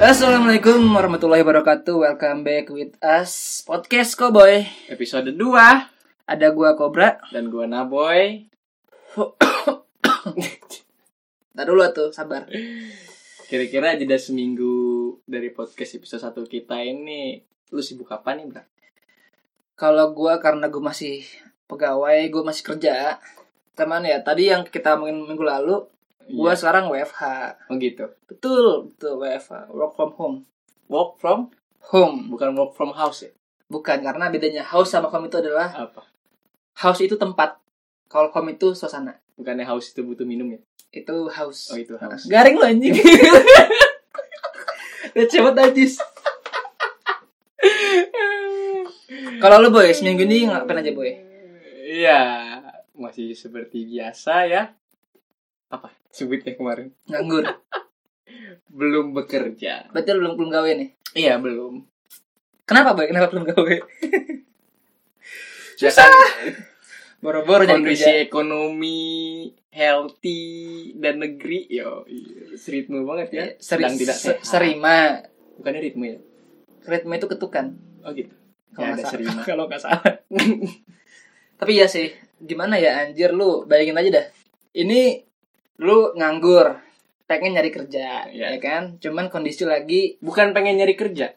Assalamualaikum warahmatullahi wabarakatuh. Welcome back with us podcast Koboy. Episode 2 Ada gua Kobra. dan gua Naboy. Ntar dulu tuh, sabar. Kira-kira jeda seminggu dari podcast episode 1 kita ini lu sibuk apa nih, Bra? Kalau gua karena gua masih pegawai, gua masih kerja. Teman ya, tadi yang kita omongin minggu lalu, gua Iya. sekarang WFH. oh gitu. Betul, betul WFH, work from home. Work from Home. bukan work from house ya? Bukan karena bedanya house sama home itu adalah Apa? house itu tempat. Kalau home itu suasana. Bukannya house itu butuh minum ya? Itu house. Oh, itu house. Garing lo anjing. Udah cepet najis. Kalau lo boy, seminggu ini ngapain aja boy? Iya, masih seperti biasa ya. Apa? Sebutnya kemarin. Nganggur. Belum bekerja. Berarti lo belum belum gawe nih. Iya, belum. Kenapa boy? Kenapa belum gawe? Ya kan, Boro-boro jadi kondisi kerja. ekonomi healthy dan negeri yo iya, seritme banget ya Seri, sedang tidak se- sehat serima. bukannya ritme ya Ritme itu ketukan. oh gitu Kalau Ya, nggak ada salah. serima. Kalau nggak salah. Tapi ya sih, gimana ya anjir lu bayangin aja dah. Ini lu nganggur, pengen nyari kerja, Iya. ya kan? Cuman kondisi lagi bukan pengen nyari kerja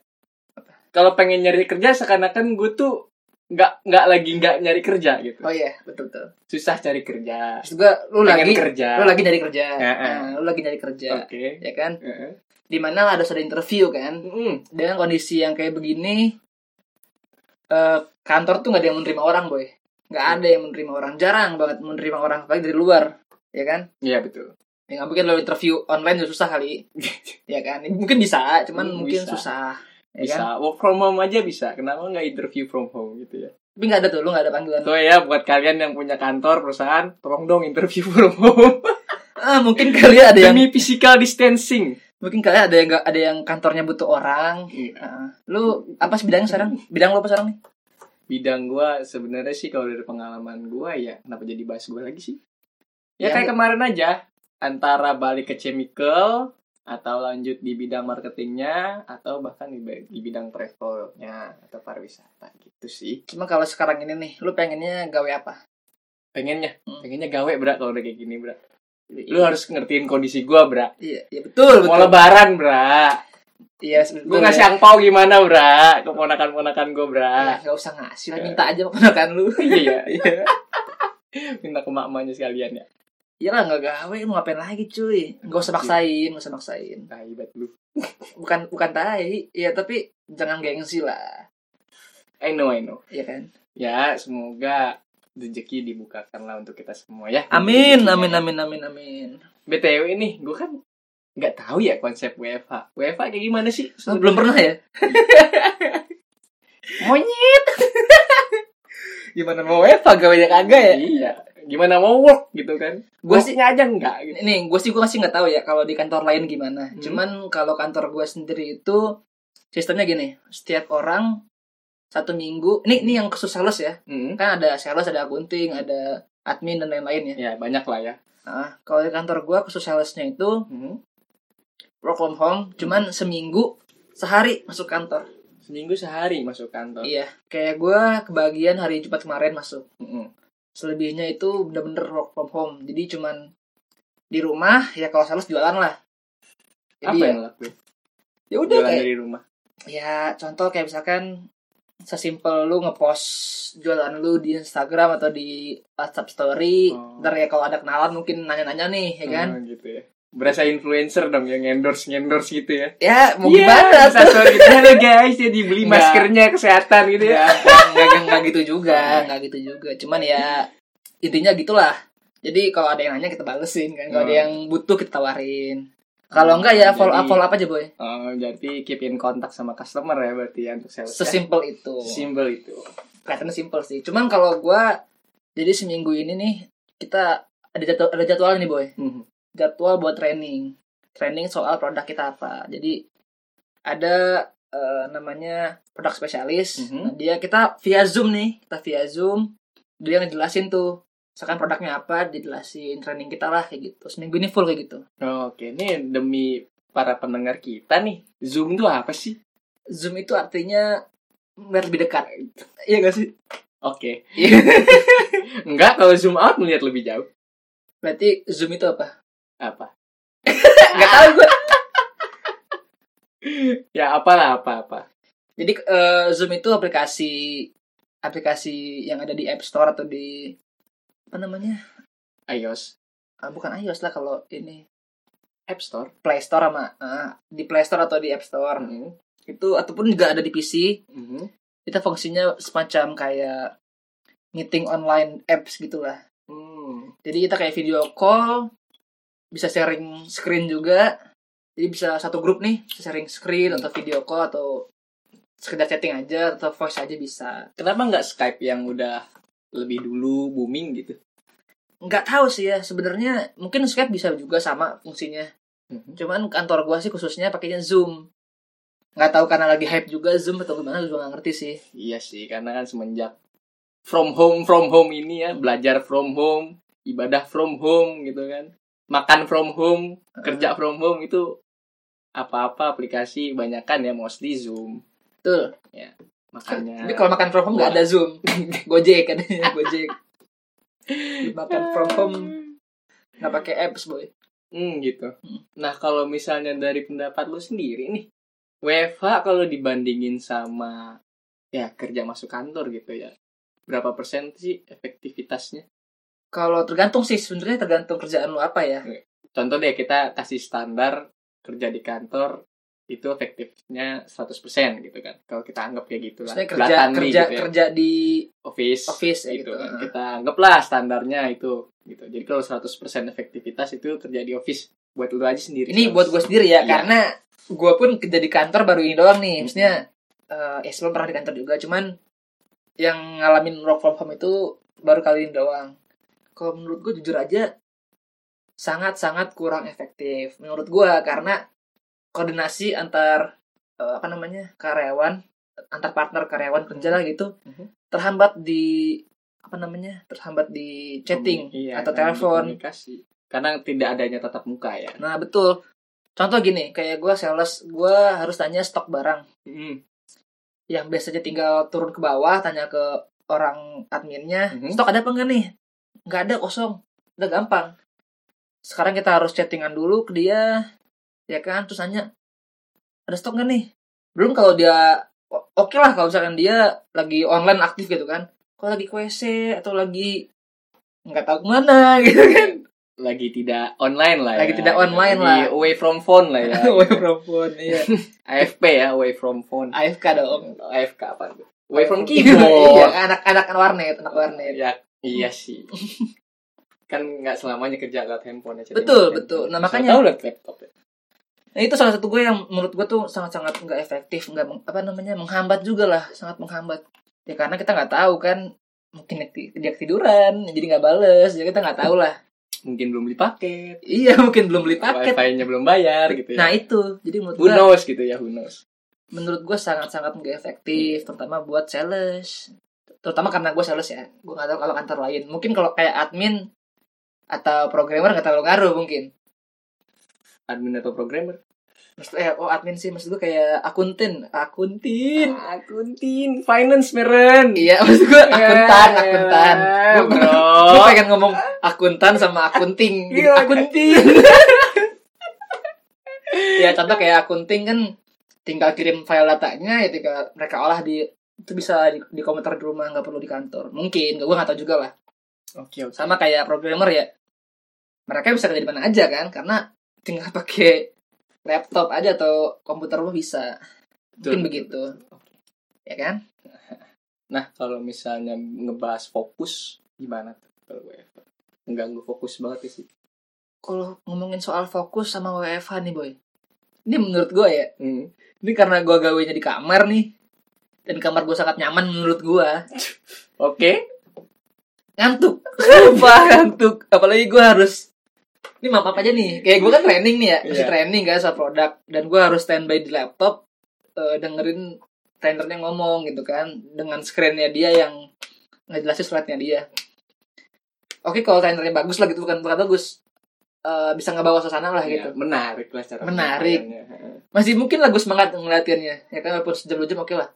kalau pengen nyari kerja seakan-akan gue tuh nggak nggak lagi nggak nyari kerja gitu Oh iya, betul betul. susah cari kerja Terus gua lu pengen lagi kerja lu lagi nyari kerja. Heeh. Nah, lu lagi nyari kerja. oke Ya kan? Heeh. Dimana harus ada interview kan? Mm, Dengan kondisi yang kayak begini eh kantor tuh nggak ada yang menerima orang, boy. Nggak Iya. ada yang menerima orang. Jarang banget menerima orang apalagi dari luar. Ya kan? iya betul Ya nggak mungkin lo interview online ya susah kali. ya kan? Mungkin bisa, cuman Hmm, mungkin bisa. susah. Ya kan? bisa work from home aja bisa kenapa nggak interview from home gitu ya Tapi nggak ada tuh, lu nggak ada panggilan. tuh ya buat kalian yang punya kantor perusahaan tolong dong interview from home Ah, mungkin kalian ada yang demi physical distancing mungkin kalian ada yang nggak- ada yang kantornya butuh orang. Heeh. lu apa sih bidangnya sekarang? Bidang lu apa sekarang nih? bidang gua sebenarnya sih kalau dari pengalaman gua ya kenapa jadi bahas gua lagi sih Ya, ya, kayak kemarin aja antara balik ke chemical atau lanjut di bidang marketingnya atau bahkan di, ba- di bidang travelnya atau pariwisata gitu sih Cuma kalau sekarang ini nih, lu pengennya gawe apa? pengennya Hmm. pengennya gawe bra kalau udah kayak gini bra lu harus ngertiin kondisi gua bra Iya, iya betul, mau betul. lebaran bra Iya, betul, gua ya. ngasih angpau gimana bra keponakan ponakan gua bra Ah, nggak usah ngasih lah, minta aja keponakan lu. iya iya minta ke mak-maknya sekalian ya Iyalah Iya nggak gawe, mau ngapain lagi cuy? Nggak usah maksain, nggak usah maksain. tai banget Nah, lu Bukan bukan tai, ya tapi jangan gengsi lah, I know I know Iya kan? ya semoga rezeki dibukakan lah untuk kita semua ya Amin, amin, amin, amin, amin. btw ini gue kan nggak tahu ya konsep WFH WFH kayak gimana sih Lu belum pernah ya? monyet Gimana mau Eva gawe ya kagak iya gimana mau work gitu kan Gua gue sih sih aja nggak gitu Iya. Nih, gue sih gue sih nggak tahu ya kalau di kantor lain gimana. Hmm. Cuman kalau kantor gue sendiri itu sistemnya gini, setiap orang satu minggu. Ini ini yang khusus sales ya. Mm. Kan ada sales, ada akunting, ada admin dan lain-lain ya. ya banyak lah ya Nah, kalau di kantor gue khusus salesnya itu Mm. work from home, cuman seminggu sehari masuk kantor. seminggu sehari masuk kantor Iya, kayak gue kebagian hari Jumat kemarin masuk. Mm-mm. Selebihnya itu bener-bener work from home. Jadi cuman di rumah ya kalau sales jualan lah. Jadi apa ya- yang lakuin ya udah jualan kayak dari rumah ya contoh kayak misalkan sesimpel lu ngepost jualan lu di Instagram atau di WhatsApp Story Oh. ntar ya kalau ada kenalan mungkin nanya-nanya nih ya kan Oh, gitu ya berasa influencer dong yang endorse endorse gitu ya ya mau Iya, gimana bisa story gitu. Halo guys jadi beli Nggak. maskernya kesehatan gitu ya nggak nggak- nggak gitu juga nggak gitu juga cuman ya intinya gitulah jadi kalau ada yang nanya kita balesin kan kalau ada Hmm. yang butuh kita tawarin kalau enggak ya follow up Jadi- follow up aja boy Oh, jadi keep in contact sama customer ya berarti ya untuk sales. ya? sesimpel itu Sesimpel itu. kelihatannya simpel sih. Cuman kalau gua jadi seminggu ini nih kita ada jadwal ada jadwal nih boy. Mhm. Jadwal buat training. Training soal produk kita apa. Jadi ada eh, namanya produk spesialis. Mhm. Nah, dia kita via Zoom nih, kita via Zoom. Dia ngejelasin tuh misalkan produknya apa, dijelasin training kita lah kayak gitu. Seminggu ini full kayak gitu. Oke, Oh, ini demi para pendengar kita nih, Zoom tuh apa sih? Zoom itu artinya melihat lebih dekat. Iya gak sih? Oke. Iya. Enggak, kalau zoom out melihat lebih jauh. Berarti Zoom itu apa? Apa? Gak tau gue. Ya apalah apa-apa. Jadi eh, Zoom itu aplikasi aplikasi yang ada di App Store atau di apa namanya? iOS Ah, bukan iOS lah kalau ini App Store. Play Store sama ah, di Play Store atau di App Store Mhm. itu ataupun juga ada di PC Mhm. itu fungsinya semacam kayak meeting online apps gitulah Hmm. jadi kita kayak video call bisa sharing screen juga jadi bisa satu grup nih bisa sharing screen atau video call atau sekedar chatting aja atau voice aja bisa Kenapa nggak Skype yang udah lebih dulu booming gitu? nggak tahu sih ya sebenarnya mungkin Skype bisa juga sama fungsinya Mhm. cuman kantor gua sih khususnya pakainya Zoom nggak tahu karena lagi hype juga Zoom atau gimana gua juga nggak ngerti sih Iya sih, karena kan semenjak from home from home ini ya, belajar from home, ibadah from home gitu kan. Makan from home, kerja from home itu apa-apa aplikasi banyakan ya mostly Zoom. betul Makanya Tapi kalau makan from home nggak ada Zoom. Gojek kan, Gojek. Makan from home nggak pakai apps boy. Hmm gitu. Hmm. Nah kalau misalnya dari pendapat lu sendiri nih, WFH kalau dibandingin sama ya kerja masuk kantor gitu ya, berapa persen sih efektivitasnya? Kalau tergantung sih sebenarnya tergantung kerjaan lu apa ya. Contoh deh kita kasih standar kerja di kantor itu efektifnya 100% gitu kan. Kalau kita anggap kayak gitu lah. Maksudnya kerja Belakanly kerja gitu ya. kerja di office, office ya gitu gitu. kan. Kita anggaplah standarnya itu gitu. Jadi kalau 100% efektivitas itu terjadi office buat lu aja sendiri. Ini buat gue sendiri ya Iya. Hmm. karena gue pun kerja di kantor baru ini doang nih. Maksudnya eh ya sebelum pernah di kantor juga cuman yang ngalamin work from home itu baru kali ini doang. Kalau menurut gue jujur aja sangat-sangat kurang efektif menurut gue karena koordinasi antar eh, apa namanya karyawan antar partner karyawan kerja lah gitu Mhm. terhambat di apa namanya terhambat di chatting Iya, atau karena telepon komunikasi. Karena tidak adanya tatap muka ya. nah betul contoh gini kayak gue sales gue harus tanya stok barang yang biasanya tinggal turun ke bawah tanya ke orang adminnya Mhm. stok ada apa enggak nih nggak ada kosong udah gampang sekarang kita harus chattingan dulu ke dia ya kan terus nanya ada stok nggak nih belum kalau dia o- oke lah kalau misalkan dia lagi online aktif gitu kan kalau lagi ke WC atau lagi nggak tahu kemana gitu kan Iya Lagi tidak online lah Lagi ya. tidak online Lagi lah. away from phone lah ya. away from phone iya AFP ya, away from phone. AFK Oh, dong AFK apa? tuh? Away from iya keyboard. anak-anak warnet anak warnet ya, iya sih. kan nggak selamanya kerja lewat handphone aja. Betul, betul. Nah, makanya- tahu lewat laptop ya. Nah, itu salah satu gue yang menurut gue tuh sangat-sangat nggak efektif, nggak meng- apa namanya menghambat juga lah, sangat menghambat. Ya karena kita nggak tahu kan, mungkin dia keti- dia ketiduran, jadi nggak bales, jadi kita nggak tahu lah. Mungkin belum beli paket. Iya, mungkin belum beli paket. Wi-Fi-nya belum bayar gitu ya. Nah itu, jadi menurut who gue, knows gitu ya, who knows. menurut gue sangat-sangat nggak efektif, terutama buat sales, terutama karena gue sales ya. Gue nggak tahu kalau kantor lain, mungkin kalau kayak admin atau programmer nggak terlalu ngaruh mungkin. Admin atau programmer? Maksud, eh, oh admin sih, maksud gue kayak akuntin, akuntin. Akuntin, Ah, finance meren. Iya, maksud gue akuntan, Ya, akuntan. Gue Bro. pengen ngomong akuntan sama akunting. Jadi Iya, akunting. ya contoh kayak akunting kan tinggal kirim file datanya ya tinggal mereka olah di itu bisa di, di komputer di rumah nggak perlu di kantor mungkin gue nggak tahu juga lah Oke, oke. sama kayak programmer ya mereka bisa kerja di mana aja kan karena tinggal pakai laptop aja atau komputer rumah bisa mungkin Betul, betul, begitu betul. ya kan Nah, kalau misalnya ngebahas fokus gimana tuh kalau WFH? Mengganggu fokus banget sih. kalau ngomongin soal fokus sama WFH nih boy ini menurut gue ya Hmm. ini karena gue gawainya di kamar nih dan kamar gue sangat nyaman menurut gue Oke. ngantuk sumpah ngantuk apalagi gue harus ini maaf apa aja nih kayak gue kan training nih ya masih Iya. training kan soal produk dan gue harus standby di laptop eh, dengerin trainernya ngomong gitu kan dengan screennya dia yang ngejelasin slide-nya dia oke kalau trainernya bagus lah gitu bukan bukan bagus eh, bisa ngebawa suasana lah Ya, gitu. menarik lah cara Menarik. penyampaiannya. Masih mungkin lagu semangat ngeliatinnya, ya kan walaupun sejam dua jam oke lah.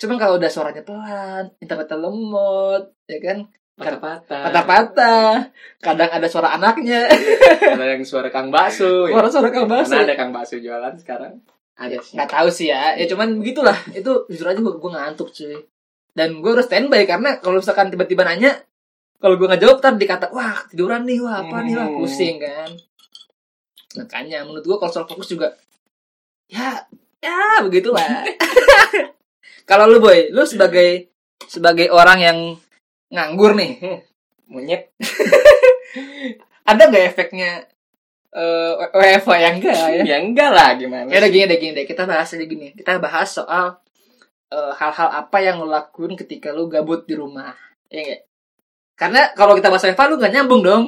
Cuman kalau udah suaranya pelan, internetnya lemot, ya kan, patah-patah patah-patah, kadang ada suara anaknya, ada yang suara kang bakso ya. suara-suara kang Basu. karena ada kang bakso jualan sekarang Iya, ada sih nggak tahu sih ya ya cuman begitulah itu jujur aja gue gue ngantuk cuy dan gue harus standby karena kalau misalkan tiba-tiba nanya kalau gue nggak jawab ntar dikata wah tiduran nih wah apa nih lah Hmm. pusing kan makanya menurut gue kalau soal fokus juga ya ya begitulah kalau lu boy lu sebagai sebagai orang yang nganggur nih Hmm. monyet ada nggak efeknya eh WFH yang enggak ya ya. enggak lah gimana Ya udah gini deh, gini deh. Kita bahas aja gini. Kita bahas soal eh, hal-hal apa yang lo lakuin ketika lo gabut di rumah. Iya nggak? Karena kalau kita bahas Eva, lu gak nyambung dong.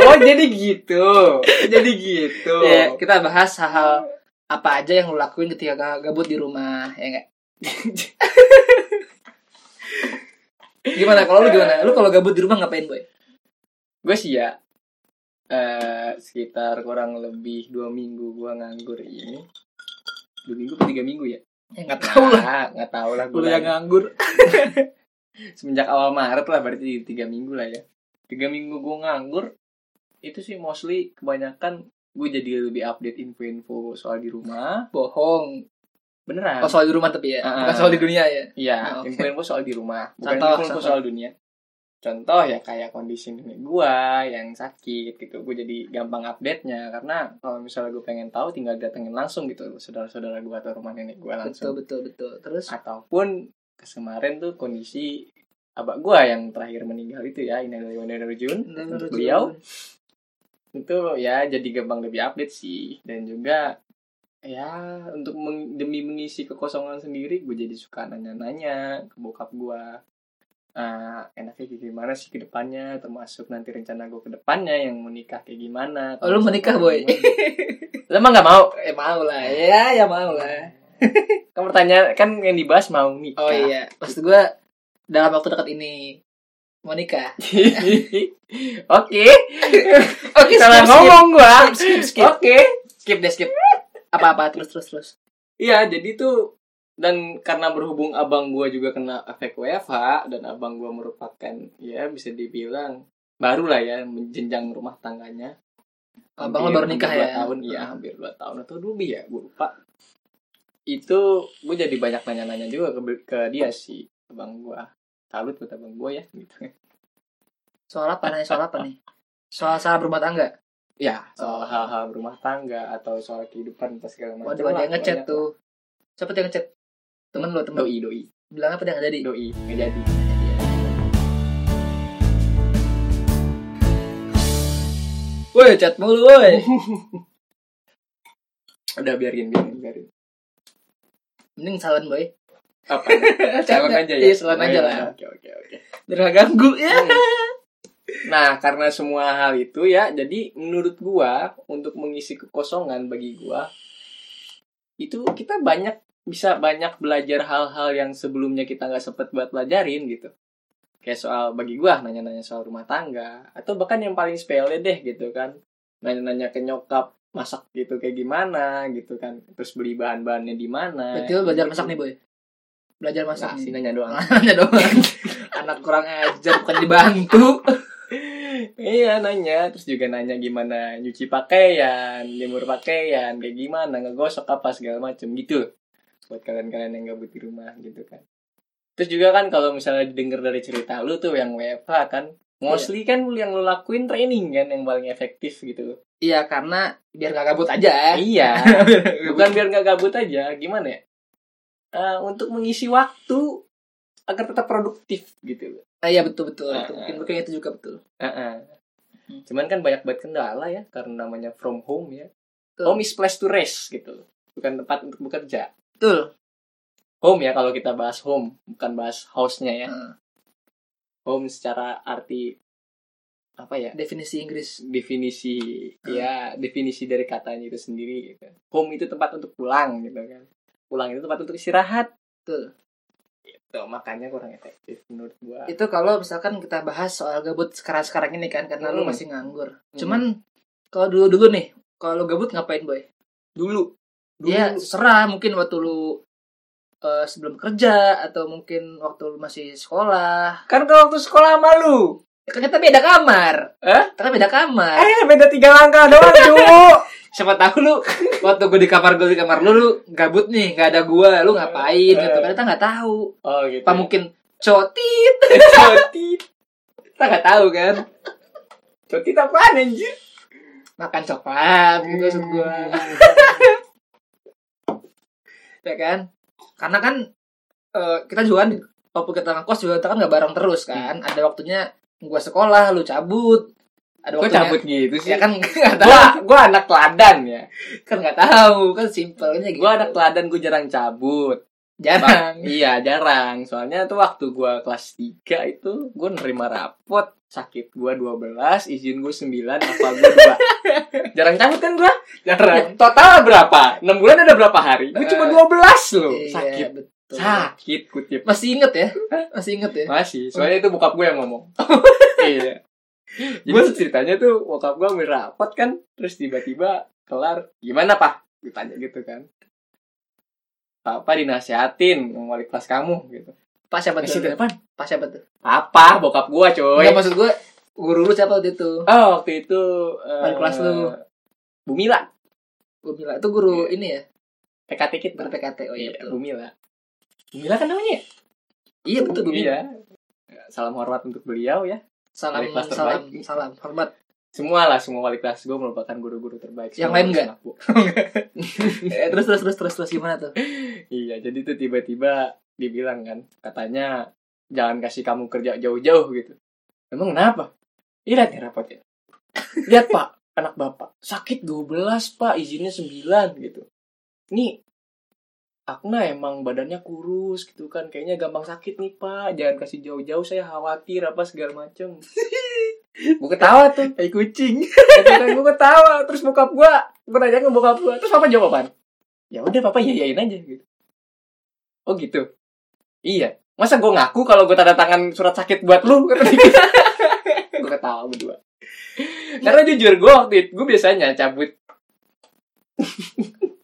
oh jadi gitu jadi gitu Ya, kita bahas hal-hal apa aja yang lo lakuin ketika ga- gabut di rumah. Ya nggak? gimana kalau lu gimana? Lu kalau gabut di rumah ngapain, Boy? gue sih ya eh, sekitar kurang lebih dua minggu gue nganggur ini dua minggu atau tiga minggu ya Ya nggak tahu lah. Ah, nggak tahu lah gue nganggur. semenjak awal Maret lah berarti tiga minggu lah ya tiga minggu gue nganggur itu sih mostly kebanyakan gue jadi lebih update info-info soal di rumah Bohong. beneran Oh, soal di rumah tapi ya. Ah, Bukan ah. soal di dunia ya. Iya, Oh, oke. info-info soal di rumah, bukan Contoh, info-info contoh. soal dunia. Contoh ya kayak kondisi nenek gua yang sakit gitu, gue jadi gampang update-nya karena kalau misalnya gue pengen tahu tinggal datengin langsung gitu saudara-saudara gua atau rumah nenek gua Betul, langsung. betul, betul. Terus? Ataupun kes- kemarin tuh kondisi abak gua yang terakhir meninggal itu ya, Inalillahi wa inna ilaihi rajiun. Untuk beliau itu ya jadi gampang lebih update sih dan juga ya untuk meng- demi mengisi kekosongan sendiri gue jadi suka nanya-nanya ke bokap gue Ah, enaknya kayak gimana sih ke depannya termasuk nanti rencana gue ke depannya yang mau nikah kayak gimana Oh, lu mau nikah, Boy? lu emang gak mau Eh mau lah, ya ya mau lah. kamu bertanya kan yang dibahas mau nikah Oh iya, maksud gue dalam waktu dekat ini mau nikah. oke Oke, salah Oh, ngomong Oh. gue Skip, skip, skip. oke Skip deh, skip. Apa-apa terus terus terus. Iya, jadi tuh dan karena berhubung abang gua juga kena efek WFH dan abang gua merupakan ya bisa dibilang baru lah ya menjenjang rumah tangganya. Abang lo Hampir- baru nikah hampir dua ya. Tahun, iya, hampir dua tahun atau lebih ya, gue lupa. Itu gue jadi banyak nanya-nanya juga ke, ke dia sih, abang gua. Salut buat abang gua ya, gitu. Soal apa nih? Soal apa nih? Soal salah berumah tangga. Ya, Oh. soal hal-hal rumah tangga atau soal kehidupan atau segala macam. Waduh, ada lah, yang ngechat banyak Oh, iya. lah. tuh. Siapa tuh yang ngechat? Temen lo, temen. Doi, doi, Bilang apa dia nggak jadi? doi, nggak jadi. Woi, chat mulu, woi. Udah biarin, biarin, biarin. Mending salon, boy. apa Chat calon nggak? aja ya Iya, Iya, salon aja lah. oke oke oke Biar nggak ganggu ya. nah karena semua hal itu ya jadi menurut gua untuk mengisi kekosongan bagi gua itu kita banyak bisa banyak belajar hal-hal yang sebelumnya kita nggak sempet buat pelajarin gitu kayak soal bagi gua nanya-nanya soal rumah tangga atau bahkan yang paling sepele deh gitu kan nanya-nanya ke nyokap masak gitu kayak gimana gitu kan terus beli bahan-bahannya di mana Berarti lo belajar masak nih, boy. Belajar masak. masak sih nanya doang Nanya doang. Anak kurang ajar bukan dibantu. Iya nanya, terus juga nanya gimana nyuci pakaian, jemur pakaian, kayak gimana, ngegosok apa segala macem gitu. Buat kalian-kalian yang gabut di rumah gitu kan. Terus juga kan kalau misalnya didengar dari cerita lu tuh yang WFH kan, mostly kan yang lu lakuin training kan yang paling efektif gitu. Iya karena biar gak gabut aja. Iya, bukan biar nggak gabut aja, gimana ya? Eh, untuk mengisi waktu agar tetap produktif gitu. Ah, iya betul betul. Ah, betul. ah. Mungkin mungkin itu juga betul. Heeh. Hmm. Cuman kan banyak banget kendala ya karena namanya from home ya. Betul. Home is place to rest gitu. Bukan tempat untuk bekerja. Betul. Home ya kalau kita bahas home, bukan bahas house-nya ya. Heeh. Home secara arti apa ya? Definisi Inggris. definisi ya definisi dari katanya itu sendiri gitu. Home itu tempat untuk pulang gitu kan. Pulang itu tempat untuk istirahat. Betul. Gitu, makanya kurang efektif menurut gua. Itu kalau misalkan kita bahas soal gabut sekarang sekarang ini kan karena lu Hmm. masih nganggur. Hmm. Cuman Kalau dulu dulu nih, kalau lu gabut ngapain boy? dulu dulu Ya serah mungkin waktu lu eh, sebelum kerja atau mungkin waktu lu masih sekolah. kan kalau waktu sekolah sama lu Ya, kan kita beda kamar. Hah? Ternyata beda kamar. eh beda tiga langkah doang cuy Siapa tahu lu waktu gue di kamar gue di kamar lu lu gabut nih, nggak ada gua, Iya. lu ngapain gitu. Ternyata nggak tahu. oh gitu Apa mungkin cotit? cotit Kita nggak tahu kan. cotit apaan anjir Makan coklat Iya. gitu maksud gua. Ya kan? Karena kan eh, kita juga kan walaupun kita ngekos juga kita kan nggak bareng terus kan. Hmm. Ada waktunya gua sekolah, lu cabut. Ada kok waktunya cabut gitu sih Ya kan nggak tahu, gua gua anak teladan ya kan nggak tahu, kan simpelnya gitu. gua anak teladan gua jarang cabut jarang. iya jarang soalnya tuh waktu gua kelas 3 itu gua nerima rapot sakit gua 12 izin gua 9 apa gua 2 jarang cabut kan gua Jarang. total berapa 6 bulan ada berapa hari gua cuma Eh, 12 loh Iya, sakit betul. sakit kutip Masih inget ya? Masih inget ya? masih soalnya itu bokap gue yang ngomong iya jadi Gua- ceritanya tuh bokap gue ambil rapot kan terus tiba-tiba kelar gimana pak ditanya gitu kan papa dinasehatin sama wali kelas kamu gitu Pas siapa Masih tuh? di depan Pas siapa tuh? papa bokap gue coy Enggak maksud gue guru lu siapa waktu itu? oh waktu itu eh, Wali kelas lu. Bumila Bumila itu guru ini ya, PKT kit guru PKT. Oh iya, Iya, betul. Bumila Bumila kan namanya ya? Iya betul Bumila. Iya. salam hormat untuk beliau ya Salam Dari kelas salam terbaik. salam hormat. semua lah semua wali kelas gue merupakan guru-guru terbaik Yang Semua lain lulusan nggak? aku. Eh, terus terus terus terus terus gimana tuh? Iya, jadi tuh tiba-tiba dibilang kan, katanya jangan kasih kamu kerja jauh-jauh gitu. Emang kenapa? Ih, lihat nih rapotnya. Lihat pak, anak bapak. Sakit 12 pak, izinnya 9 gitu. Nih, Akna emang badannya kurus gitu kan. Kayaknya gampang sakit nih pak. Jangan kasih jauh-jauh, saya khawatir apa segala macem. gue ketawa tuh. Kayak kucing. Gitu kan, gue ketawa. Terus bokap gue, gue nanya ke bokap gue. Terus papa jawab apaan? Ya udah papa yayain aja gitu. Oh gitu. Iya. Masa gue ngaku kalau gue tanda tangan surat sakit buat lu? gue ketawa berdua. Karena jujur gue waktu itu, gue biasanya cabut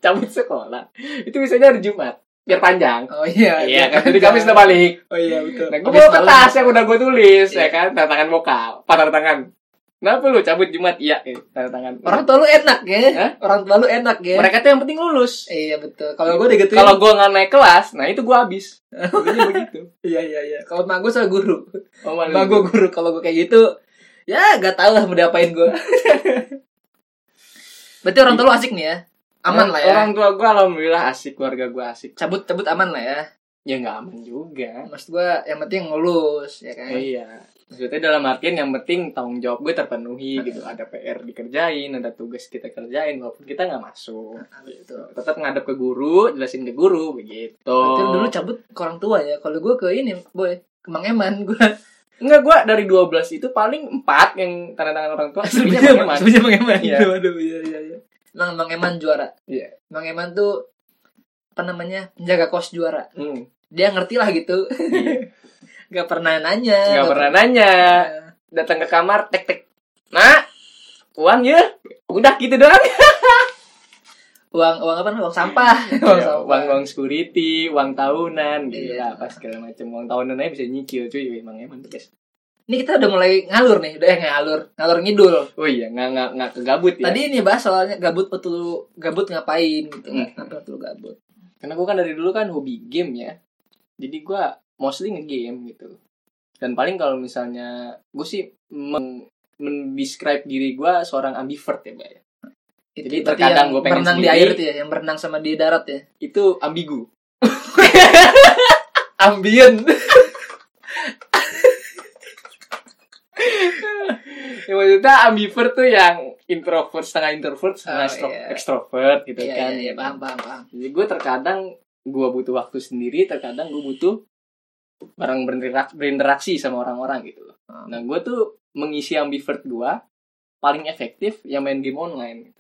cabut sekolah. Itu biasanya hari Jumat. Biar panjang. Oh iya. Iya kan, jadi kami sudah balik. Oh iya betul. Nah, gue Habis bawa malam. kertas yang udah gue tulis, Iya. ya kan? Tanda tangan bokap, apa tanda tangan? Kenapa lu cabut Jumat? Iya, eh, tanda tangan. Orang tua lu enak ya. Hah? Orang tua lu enak ya. Mereka tuh yang penting lulus. Iya betul. Kalau gue digituin. Kalau gue nggak naik kelas, nah itu gue habis. Jadinya begitu. iya iya iya. Kalau emak gue soal guru. Oh, Emak gue guru. Kalau gue kayak gitu, ya gak tau lah mau diapain gue. Berarti orang tua lu asik nih ya? Aman lah ya. Orang tua gue alhamdulillah asik, keluarga gue asik. cabut cabut aman lah ya Ya nggak aman Eh, juga. maksud gua yang penting ngulus ya kan Iya. Maksudnya dalam artian yang penting tanggung jawab gue Eh. terpenuhi gitu. Ada PR dikerjain, ada tugas kita kerjain, walaupun kita nggak masuk. Nah, gitu Tetap ngadep ke guru, jelasin ke guru, begitu. Berarti lu Oh. dulu cabut ke orang tua ya kalau gua ke ini boy ke Mang Eman gua Enggak, gua dari 12 itu paling 4 yang tanda tangan orang tua. sebenarnya Aslinya Pokemon. sebenarnya Mang Eman Iya. Aduh, aduh, iya iya iya Emang Mang Eman juara Iya. Mang Eman tuh apa namanya penjaga kos juara Hmm. dia ngerti lah gitu gak pernah nanya Enggak Iya. pernah nanya. Datang ke kamar tek tek. Nak, uang ya. Udah gitu doang. Iya, uang uang apa namanya? uang sampah uang Iya, sampah uang uang security, uang tahunan, gitu Iya. lah, apa segala macam uang tahunan aja bisa nyicil cuy, emang emang guys. ini kita udah mulai ngalur nih udah eh, ngalur ngalur ngidul Oh iya, nggak nggak nggak kegabut ya. Tadi ini bahas soalnya gabut betul gabut ngapain gitu kan. Hmm. Kenapa betul gabut? Karena gua kan dari dulu kan hobi game ya. Jadi gua mostly ngegame gitu. Dan paling kalau misalnya gue sih meng- mendescribe diri gua seorang ambivert ya, Mbak. Itu Jadi berarti terkadang yang gua pengen berenang di sendiri. air tuh ya, yang berenang sama di darat ya. itu ambigu. Ambien. Ya, maksudnya ambivert tuh yang introvert setengah introvert setengah Oh, extro- iya. extrovert gitu Iya kan. iya iya paham paham paham. Jadi gue terkadang gue butuh waktu sendiri, terkadang gue butuh barang berinteraksi, berinteraksi sama orang-orang gitu. loh. Hmm. Nah gue tuh mengisi ambivert gue paling efektif yang main game online.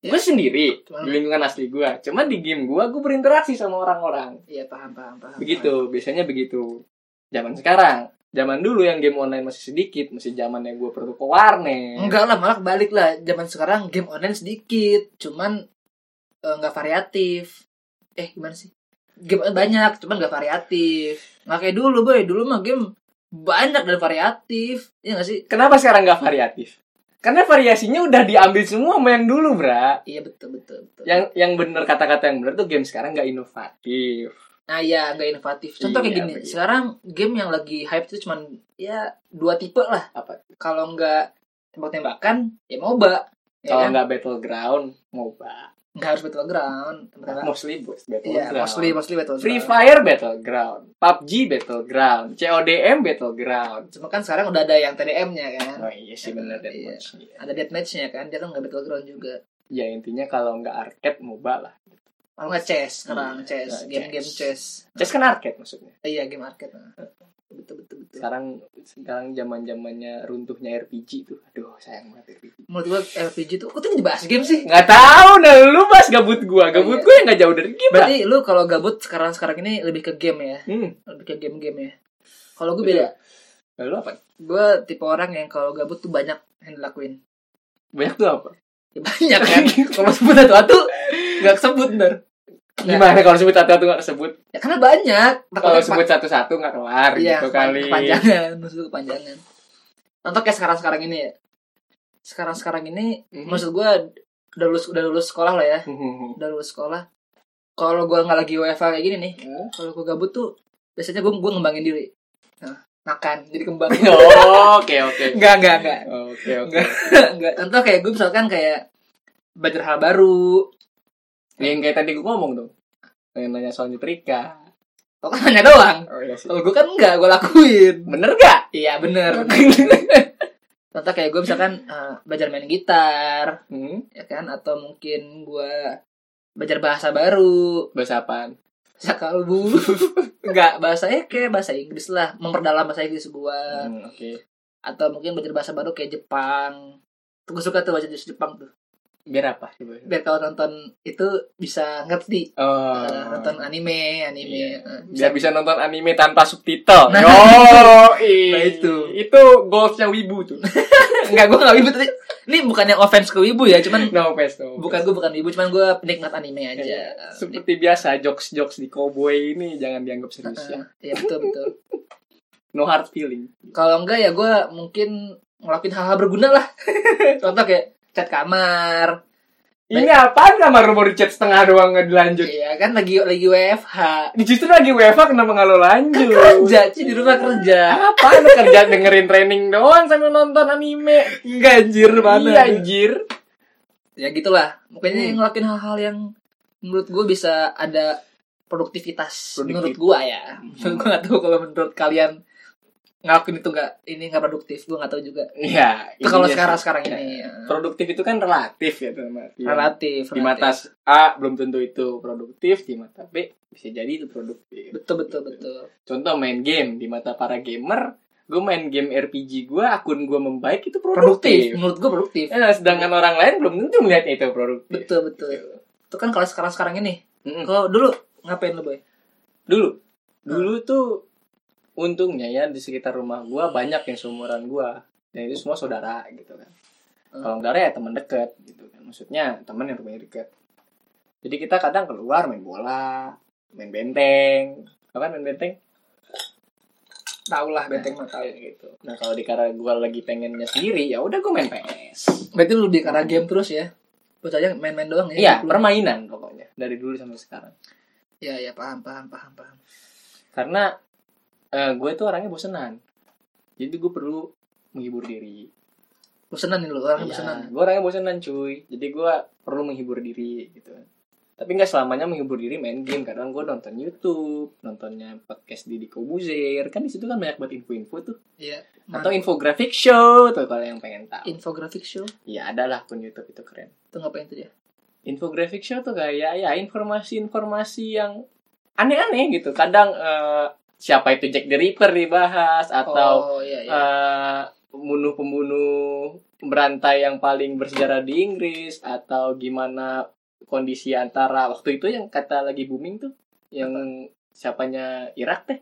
Iya. Gue sendiri Cuman- di lingkungan asli gue, cuman di game gue gue berinteraksi sama orang-orang. Iya paham paham paham. Begitu, biasanya begitu. Zaman sekarang zaman dulu yang game online masih sedikit masih zaman yang gue perlu ke warnet Enggak lah, malah balik lah. Zaman sekarang game online sedikit, cuman eh, nggak variatif. Eh, gimana sih? Game online banyak, cuman nggak variatif. Nggak kayak dulu, boy. Dulu mah game banyak dan variatif. Iya nggak sih? kenapa sekarang nggak variatif karena variasinya udah diambil semua sama yang dulu bra Iya, betul, betul, betul. yang yang bener kata-kata yang bener tuh game sekarang nggak inovatif Nah, ya nggak inovatif. Contoh kayak Iya, gini. begitu. Sekarang game yang lagi hype itu cuman ya dua tipe lah. apa Kalau nggak tembak-tembakan, ya MOBA. Ya kalau kan? nggak battleground moba Nggak harus battleground. Tembak-tembakan. mostly bos Iya, battleground mostly, mostly battleground. Free Fire Battleground, PUBG Battleground, CODM Battleground. Cuma kan sekarang udah ada yang TDM-nya kan. Oh iya sih bener dan Iya. kunci. ada deathmatch-nya kan dia kan nggak battleground juga Ya intinya kalau nggak arcade MOBA lah. kalau nggak chess sekarang Iya, chess nggak game-game chess, Just kan arcade maksudnya. Eh, iya game arcade nah. betul betul betul Sekarang sekarang zaman zamannya runtuhnya RPG tuh. Aduh sayang banget RPG. menurut gua RPG tuh kok tuh dibahas game sih Nggak tahu nah lu pas gabut gua, gabut Iya. gua yang nggak jauh dari game. Bra. berarti lu kalau gabut sekarang sekarang ini lebih ke game ya Hmm. lebih ke game-game ya kalau gue beda Lalu Nah, apa? gue tipe orang yang kalau gabut tuh banyak yang dilakuin Banyak tuh apa? ya, banyak kan kalau sebut satu satu nggak sebut ntar Gimana kalau sebut satu-satu nggak sebut? ya karena banyak Kalau Takutnya sebut satu-satu nggak kelar Iya, gitu kepan- kali. Kepanjangan, maksud gue kepanjangan. Contoh kayak sekarang-sekarang ini ya. Sekarang-sekarang ini Mhm. maksud gue udah lulus udah lulus sekolah lah ya, udah lulus sekolah. Kalau gue nggak lagi WFH kayak gini nih, kalau gue gabut tuh biasanya gue gue ngembangin diri. Nah, makan jadi kembang. Oke oke. Enggak, enggak, enggak. Oke oke. Enggak, enggak. Contoh kayak gue misalkan kayak belajar hal baru. Ya, Yang kayak tadi gue ngomong dong. Yang nanya soal nyetrika. Lo kan hanya doang. Oh iya sih. Kalau gue kan enggak, gue lakuin. Bener gak? Iya, bener. Contoh kayak gue misalkan eh, belajar main gitar, hmm? ya kan atau mungkin gua belajar bahasa baru Bahasa apaan? bahasa kalbu nggak bahasa ya kayak bahasa Inggris lah memperdalam bahasa Inggris gua Hmm, Oke. atau mungkin belajar bahasa baru kayak Jepang tuh gua suka tuh baca jurus Jepang tuh Biar apa? Coba. biar kalau nonton itu bisa ngerti Oh. Eh, nonton anime anime Iya. eh, Biar bisa nonton anime tanpa subtitle. Nah. Yo, Nah, itu. Itu goalsnya Wibu tuh. nggak gua nggak wibu tapi ini bukan yang offense ke wibu ya cuman No offense, no offense. bukan gua bukan wibu cuman gua penikmat anime aja Iya. Eh, Seperti biasa jokes-jokes di cowboy ini jangan dianggap serius eh, ya. iya betul betul No hard feeling. kalau enggak ya gue mungkin ngelakuin hal-hal berguna lah contoh kayak cat kamar Ini apaan kamar baru chat setengah doang nggak dilanjut? iya kan lagi lagi WFH Ini Justru lagi WFA kenapa nggak lo lanjut? kerja sih di rumah kerja apa lu kerja dengerin training doang sambil nonton anime enggak anjir iya anjir ya gitulah makanya Hmm. ngelakuin hal-hal yang menurut gue bisa ada produktivitas Produktif. Hmm. menurut gue ya menurut gue gak tahu kalau menurut kalian ngelakuin itu nggak ini nggak produktif gue nggak tahu juga iya itu kalau iya sekarang sih. sekarang ini ya. produktif itu kan relatif ya dalam artian. relatif di relatif. mata A belum tentu itu produktif di mata B bisa jadi itu produktif betul betul betul contoh main game di mata para gamer gue main game RPG gue akun gue membaik itu produktif produktif, menurut gue produktif Eh, sedangkan orang lain belum tentu melihatnya itu produktif betul betul Iya. itu kan kalau sekarang sekarang ini Mm-mm. Kalau dulu ngapain lu, Boy? dulu dulu tuh untungnya ya di sekitar rumah gua banyak yang seumuran gua dan itu semua saudara gitu kan Hmm. kalau saudara ya teman dekat gitu kan maksudnya teman yang rumahnya dekat jadi kita kadang keluar main bola main benteng Tau kan main benteng Tahu lah benteng mah Kayak gitu nah kalau di karena gua lagi pengennya sendiri ya udah gua main PS Berarti lu lebih ke arah game terus ya? Bocahnya main-main doang ya? Hmm. iya Belum- permainan pokoknya dari dulu sampai sekarang Iya, iya, paham, paham, paham, paham. karena gue tuh orangnya bosenan jadi gue perlu menghibur diri Bosenan nih lu, orang bosenan. Iya, gue orangnya bosenan cuy Jadi gue perlu menghibur diri gitu Tapi nggak selamanya menghibur diri main game Kadang gue nonton Youtube Nontonnya podcast Didi Kobuzer Kan disitu kan banyak banget info-info tuh Iya. Atau infografik show tuh kalau yang pengen tahu infografik show? Ya ada lah akun Youtube itu keren Itu ngapain tuh dia? Infografik show tuh kayak ya informasi-informasi yang aneh-aneh gitu Kadang eh, siapa itu Jack the Ripper dibahas oh, Atau iya, iya. eh pembunuh-pembunuh berantai yang paling bersejarah di Inggris atau gimana kondisi antara waktu itu yang kata lagi booming tuh yang siapanya Irak teh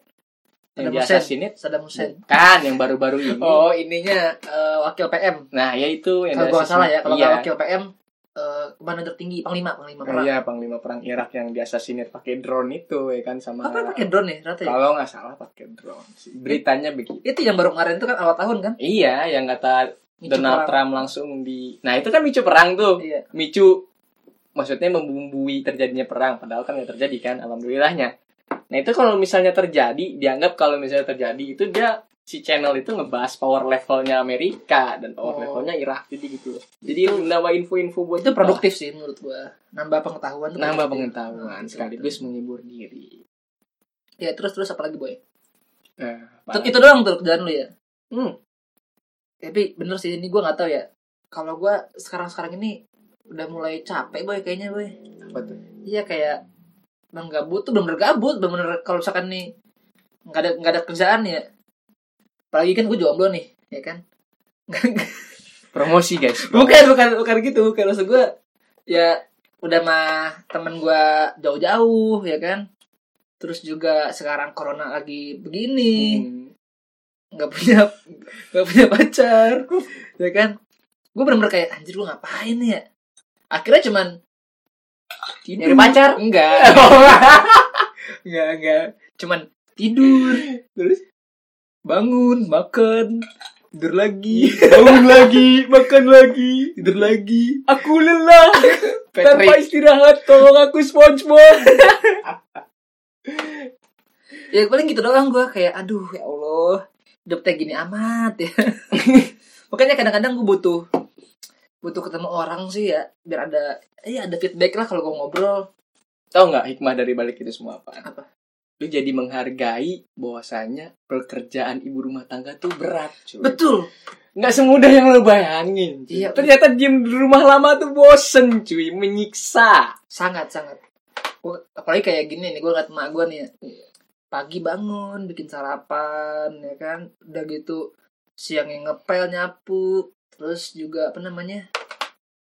yang Saddam di Hussein. assassinate Saddam Hussein. bukan yang baru-baru ini eh, Oh, ininya eh, wakil PM. nah ya itu yang Kalau di gua nggak salah ya, assassinate. kalau iya. nggak wakil PM eh komandan tertinggi panglima, panglima perang. iya panglima perang Irak yang di assassinate pakai drone itu ya kan sama Apa yang pakai drone ya, rata ya? kalau nggak salah pakai drone sih. beritanya begitu Itu yang baru kemarin itu kan awal tahun kan? iya yang kata Micu Donald perang. Trump langsung di nah itu kan micu perang tuh Iya. micu maksudnya membumbui terjadinya perang padahal kan nggak terjadi kan alhamdulillahnya nah itu kalau misalnya terjadi dianggap kalau misalnya terjadi itu dia si channel itu ngebahas power levelnya Amerika dan Oh. power levelnya Irak jadi gitu loh. jadi lu nambah info-info buat Itu kita. produktif sih menurut gua. Nambah pengetahuan. tuh nambah produktif. pengetahuan Nah, sekaligus betul. menghibur diri Ya terus terus apalagi boy? Eh, Itu, apalagi- itu doang tuh kerjaan lu ya. Hmm. Tapi bener sih ini gua nggak tahu ya. Kalau gua sekarang-sekarang ini udah mulai capek boy kayaknya boy. apa tuh? Iya kayak bang gabut tuh bener-bener gabut bener-bener kalau misalkan nih nggak ada nggak ada kerjaan ya apalagi kan gue jomblo nih ya kan promosi guys bukan bukan bukan gitu bukan maksud gue ya udah mah temen gue jauh-jauh ya kan terus juga sekarang corona lagi begini Hmm. nggak punya nggak punya pacar ya kan gue bener-bener kayak anjir gue ngapain ya akhirnya cuman nyari pacar enggak enggak enggak cuman tidur terus bangun makan tidur lagi bangun lagi makan lagi tidur lagi aku lelah tanpa Patrick istirahat tolong aku SpongeBob ya paling gitu doang gue kayak aduh ya allah hidup teh gini amat ya makanya kadang-kadang gue butuh butuh ketemu orang sih ya biar ada ya ada feedback lah kalau gue ngobrol tau nggak hikmah dari balik itu semua apa Apa? lu jadi menghargai bahwasanya pekerjaan ibu rumah tangga tuh berat cuy betul nggak semudah yang lu bayangin cuy. Iya. ternyata diem di rumah lama tuh bosen cuy menyiksa sangat sangat Gua- apalagi kayak gini nih gue ngeliat emak gue nih ya. pagi bangun bikin sarapan ya kan udah gitu siangnya ngepel nyapu terus juga apa namanya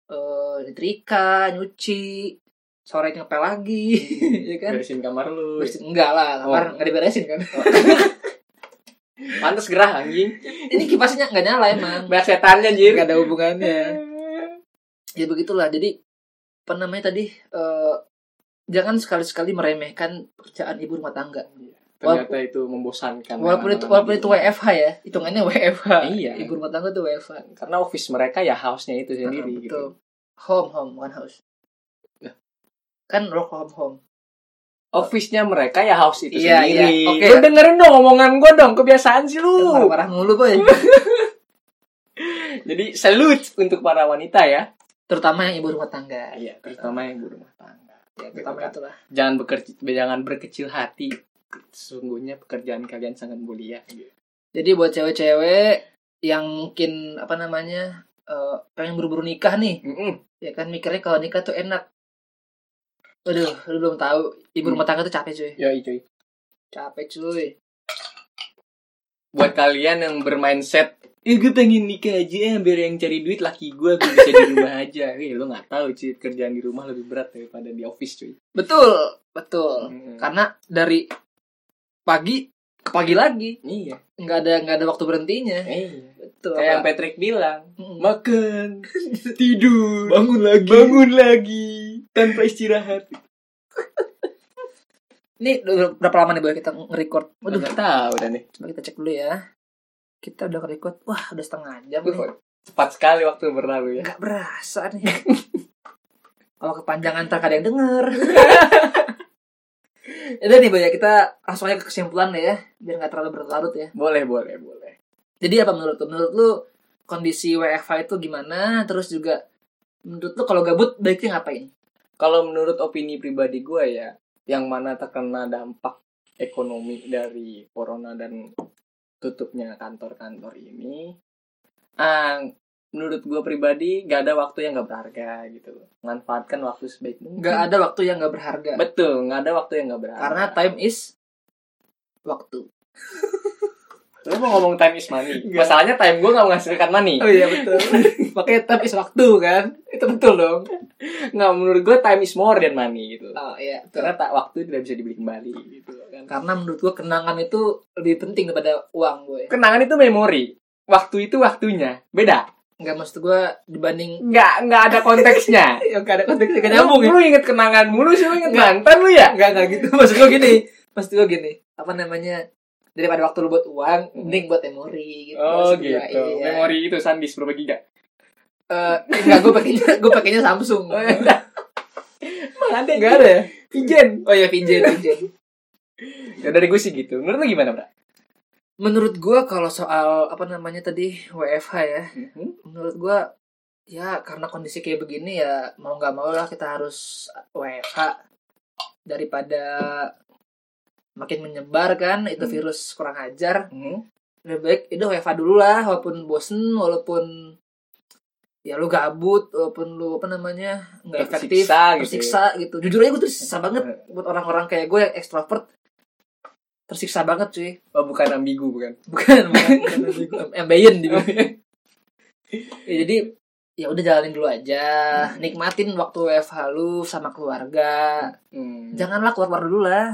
eh nyetrika nyuci sore ngepel lagi ya kan beresin kamar lu Terus- enggak lah kamar Iya. Oh. nggak diberesin kan pantas gerah anjing ini kipasnya nggak nyala emang banyak setannya anjir nggak ada hubungannya ya begitulah jadi apa namanya tadi eh, jangan sekali-sekali meremehkan pekerjaan ibu rumah tangga ternyata itu membosankan Walaupun itu walaupun itu WFH ya, hitungannya WFH. Iya. Ibu rumah tangga tuh WFH. karena office mereka ya house-nya itu sendiri Nah, gitu. Ya. betul. Home home bukan house. Lah. Kan rock home home. Office-nya mereka ya house itu Iya, sendiri. iya. Oke. Lu dengerin dong omongan gue dong, kebiasaan sih Kan lu. Marah-marah mulu boy. Jadi salute untuk para wanita ya. Terutama yang ibu rumah tangga. Iya, terutama yang ibu rumah tangga. Ya, terutama Betul, itulah. Jangan bekerja, jangan berkecil hati. Sesungguhnya pekerjaan kalian sangat mulia. Jadi buat cewek-cewek yang mungkin apa namanya eh, pengen buru-buru nikah nih, Mm-mm. ya kan mikirnya kalau nikah tuh enak. Aduh, lu belum tahu ibu Hmm. rumah tangga tuh capek cuy. Yoi, cuy. Capek cuy. Buat kalian yang bermindset, "Ih, gue pengen nikah aja, eh, biar yang cari duit laki gue, gue bisa di rumah aja." Eh, lu nggak tahu cuy, kerjaan di rumah lebih berat daripada di office cuy. Kan Betul, betul. Mm-mm. Karena dari pagi ke pagi lagi Iya. nggak ada nggak ada waktu berhentinya Iya. betul ya? Kayak yang Patrick bilang, Mm-mm. makan, tidur, bangun lagi bangun lagi tanpa istirahat. ini udah berapa lama nih boy kita nge-record waduh Udah tahu dah nih. coba kita cek dulu ya kita udah nge-record wah udah setengah jam nih Cepat sekali waktu berlalu ya. nggak berasa nih kalau kepanjangan tak ada yang denger Udah nih boy ya, kita langsung aja ke kesimpulan deh ya biar nggak terlalu berlarut ya Boleh, boleh, boleh. Jadi apa menurut lu? Menurut lu kondisi WFH itu gimana? Terus juga menurut lu kalau gabut baiknya ngapain? Kalau menurut opini pribadi gue ya, yang mana terkena dampak ekonomi dari corona dan tutupnya kantor-kantor ini, ah, menurut gue pribadi gak ada waktu yang gak berharga gitu. Manfaatkan waktu sebaik mungkin. Gak ada waktu yang gak berharga. Betul, gak ada waktu yang gak berharga. Karena time is waktu. Lu mau ngomong time is money. Enggak. Masalahnya time gue gak menghasilkan money. Oh iya betul. Makanya time is waktu kan? Itu betul dong. Nggak, menurut gue time is more than money gitu. Oh iya, betul. Karena tak waktu tidak bisa dibeli kembali gitu kan. karena menurut gue kenangan itu lebih penting daripada uang gue Kenangan itu memori. Waktu itu waktunya. Beda. nggak maksud gue dibanding Nggak, nggak ada konteksnya. yang gak ada konteksnya gak lu, nyambung ya lu inget kenangan mulu sih, lu inget Nggak. mantan lu ya? nggak nggak gitu maksud gue gini maksud gue gini apa namanya daripada waktu lu buat uang mending buat memori gitu Oh maksud gitu. gua, iya. Memori itu Sandis berbagi gak? Eh, enggak gue pakainya gue pakainya Samsung Oh, iya. Ada Nggak ada ya? Ijen. oh ya pinjen pinjen Ya dari gue sih gitu. Menurut lu gimana, Bra? menurut gue kalau soal apa namanya tadi WFH ya menurut gue ya karena kondisi kayak begini ya mau nggak mau lah kita harus WFH daripada makin menyebar kan itu Hmm. virus kurang ajar Hmm. lebih baik udah WFH dulu lah walaupun bosen walaupun ya lu gabut walaupun lu apa namanya nggak efektif Tersiksa gitu. ya. Hmm. tersiksa gitu jujur aja gue tuh tersiksa banget buat orang-orang kayak gue yang ekstrovert tersiksa banget cuy Oh, bukan ambigu bukan. bukan bukan Iya. bukan. ambeien di ya, jadi ya udah jalanin dulu aja nikmatin waktu WFH lu sama keluarga Hmm. janganlah keluar keluar dulu lah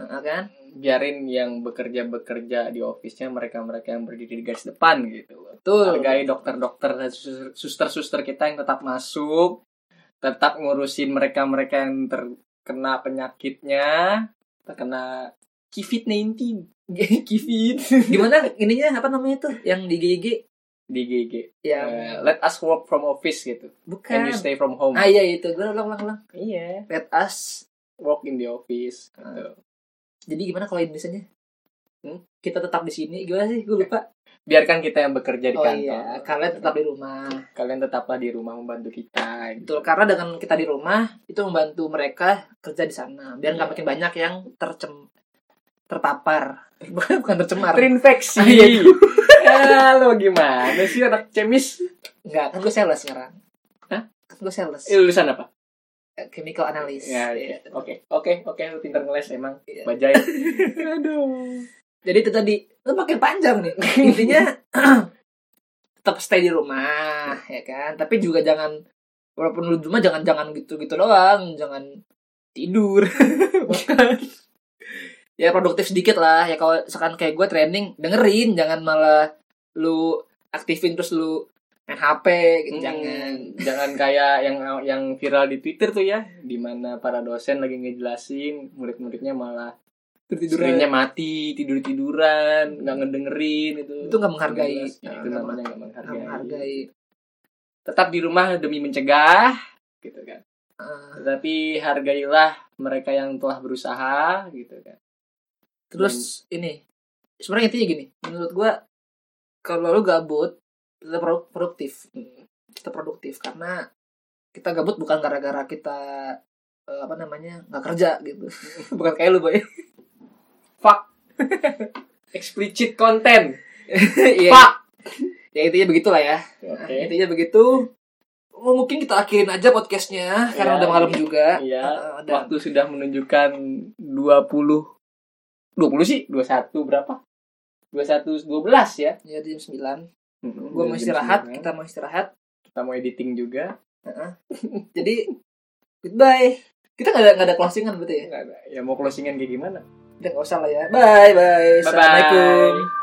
Nah, kan biarin yang bekerja-bekerja di office-nya mereka-mereka yang berdiri di garis depan gitu. tuh Hargai dokter-dokter dan sus- suster-suster kita yang tetap masuk, tetap ngurusin mereka-mereka yang terkena penyakitnya, terkena COVID-19, COVID gimana ininya apa namanya tuh yang di GG di GG. yang Eh, let us work from office gitu. And bukan you stay from home. ah iya itu gue ulang ulang ulang Iya, let us work in the office. Gitu. jadi gimana kalau Indonesia Hmm? kita tetap di sini gimana sih gue lupa Biarkan kita yang bekerja di oh kantor. iya kalian tetap di rumah Kalian tetaplah di rumah membantu kita. gitu. Betul, karena dengan kita di rumah itu membantu mereka kerja di sana biar Iya. nggak makin banyak yang tercem terpapar bukan bukan tercemar terinfeksi. Ah, iya. ya, lo gimana sih anak cemis? nggak kan gue sales sekarang Hah? kan gue sales Eh, lulusan apa? Eh, chemical analyst Ya, Iya. iya. Oke, oke, oke. Lu pinter ngeles emang. Iya. Bajai. Aduh. jadi itu tadi itu makin panjang nih intinya tetap stay di rumah ya kan tapi juga jangan walaupun lu di rumah jangan jangan gitu gitu doang jangan tidur Bukan. ya produktif sedikit lah ya kalau sekarang kayak gue training dengerin jangan malah lu aktifin terus lu main HP gitu. Hmm. jangan Jangan, Mm. jangan kayak yang yang viral di Twitter tuh ya, di mana para dosen lagi ngejelasin, murid-muridnya malah tidurnya mati, tidur tiduran, nggak ngedengerin itu. itu nggak menghargai Ya, itu Nggak namanya nggak nggak menghargai. menghargai Tetap di rumah demi mencegah, gitu kan. Eh, Tetapi hargailah mereka yang telah berusaha, gitu kan. Terus ini sebenarnya intinya gini, menurut gua kalau lu gabut tetap produ- produktif. Tetap produktif karena kita gabut bukan gara-gara kita eh, apa namanya? nggak kerja gitu. bukan kayak lu, Boy. Explicit content. Iya. Pak. Ya intinya begitulah ya. Nah, Oke. intinya begitu. Oh, mungkin kita akhirin aja podcastnya karena Iya, udah malam iya. juga. Iya. Eh, dan Waktu sudah menunjukkan 20 20 sih, 21 berapa? 21 12 ya. ya di jam 9. Hmm, Gua jam mau istirahat, 9. kita mau istirahat. kita mau editing juga. Jadi goodbye. Kita nggak ada nggak ada closingan berarti ya? Nggak ada. Ya mau closingan kayak gimana? Udah nggak usah lah ya. Bye bye. Bye-bye. Assalamualaikum.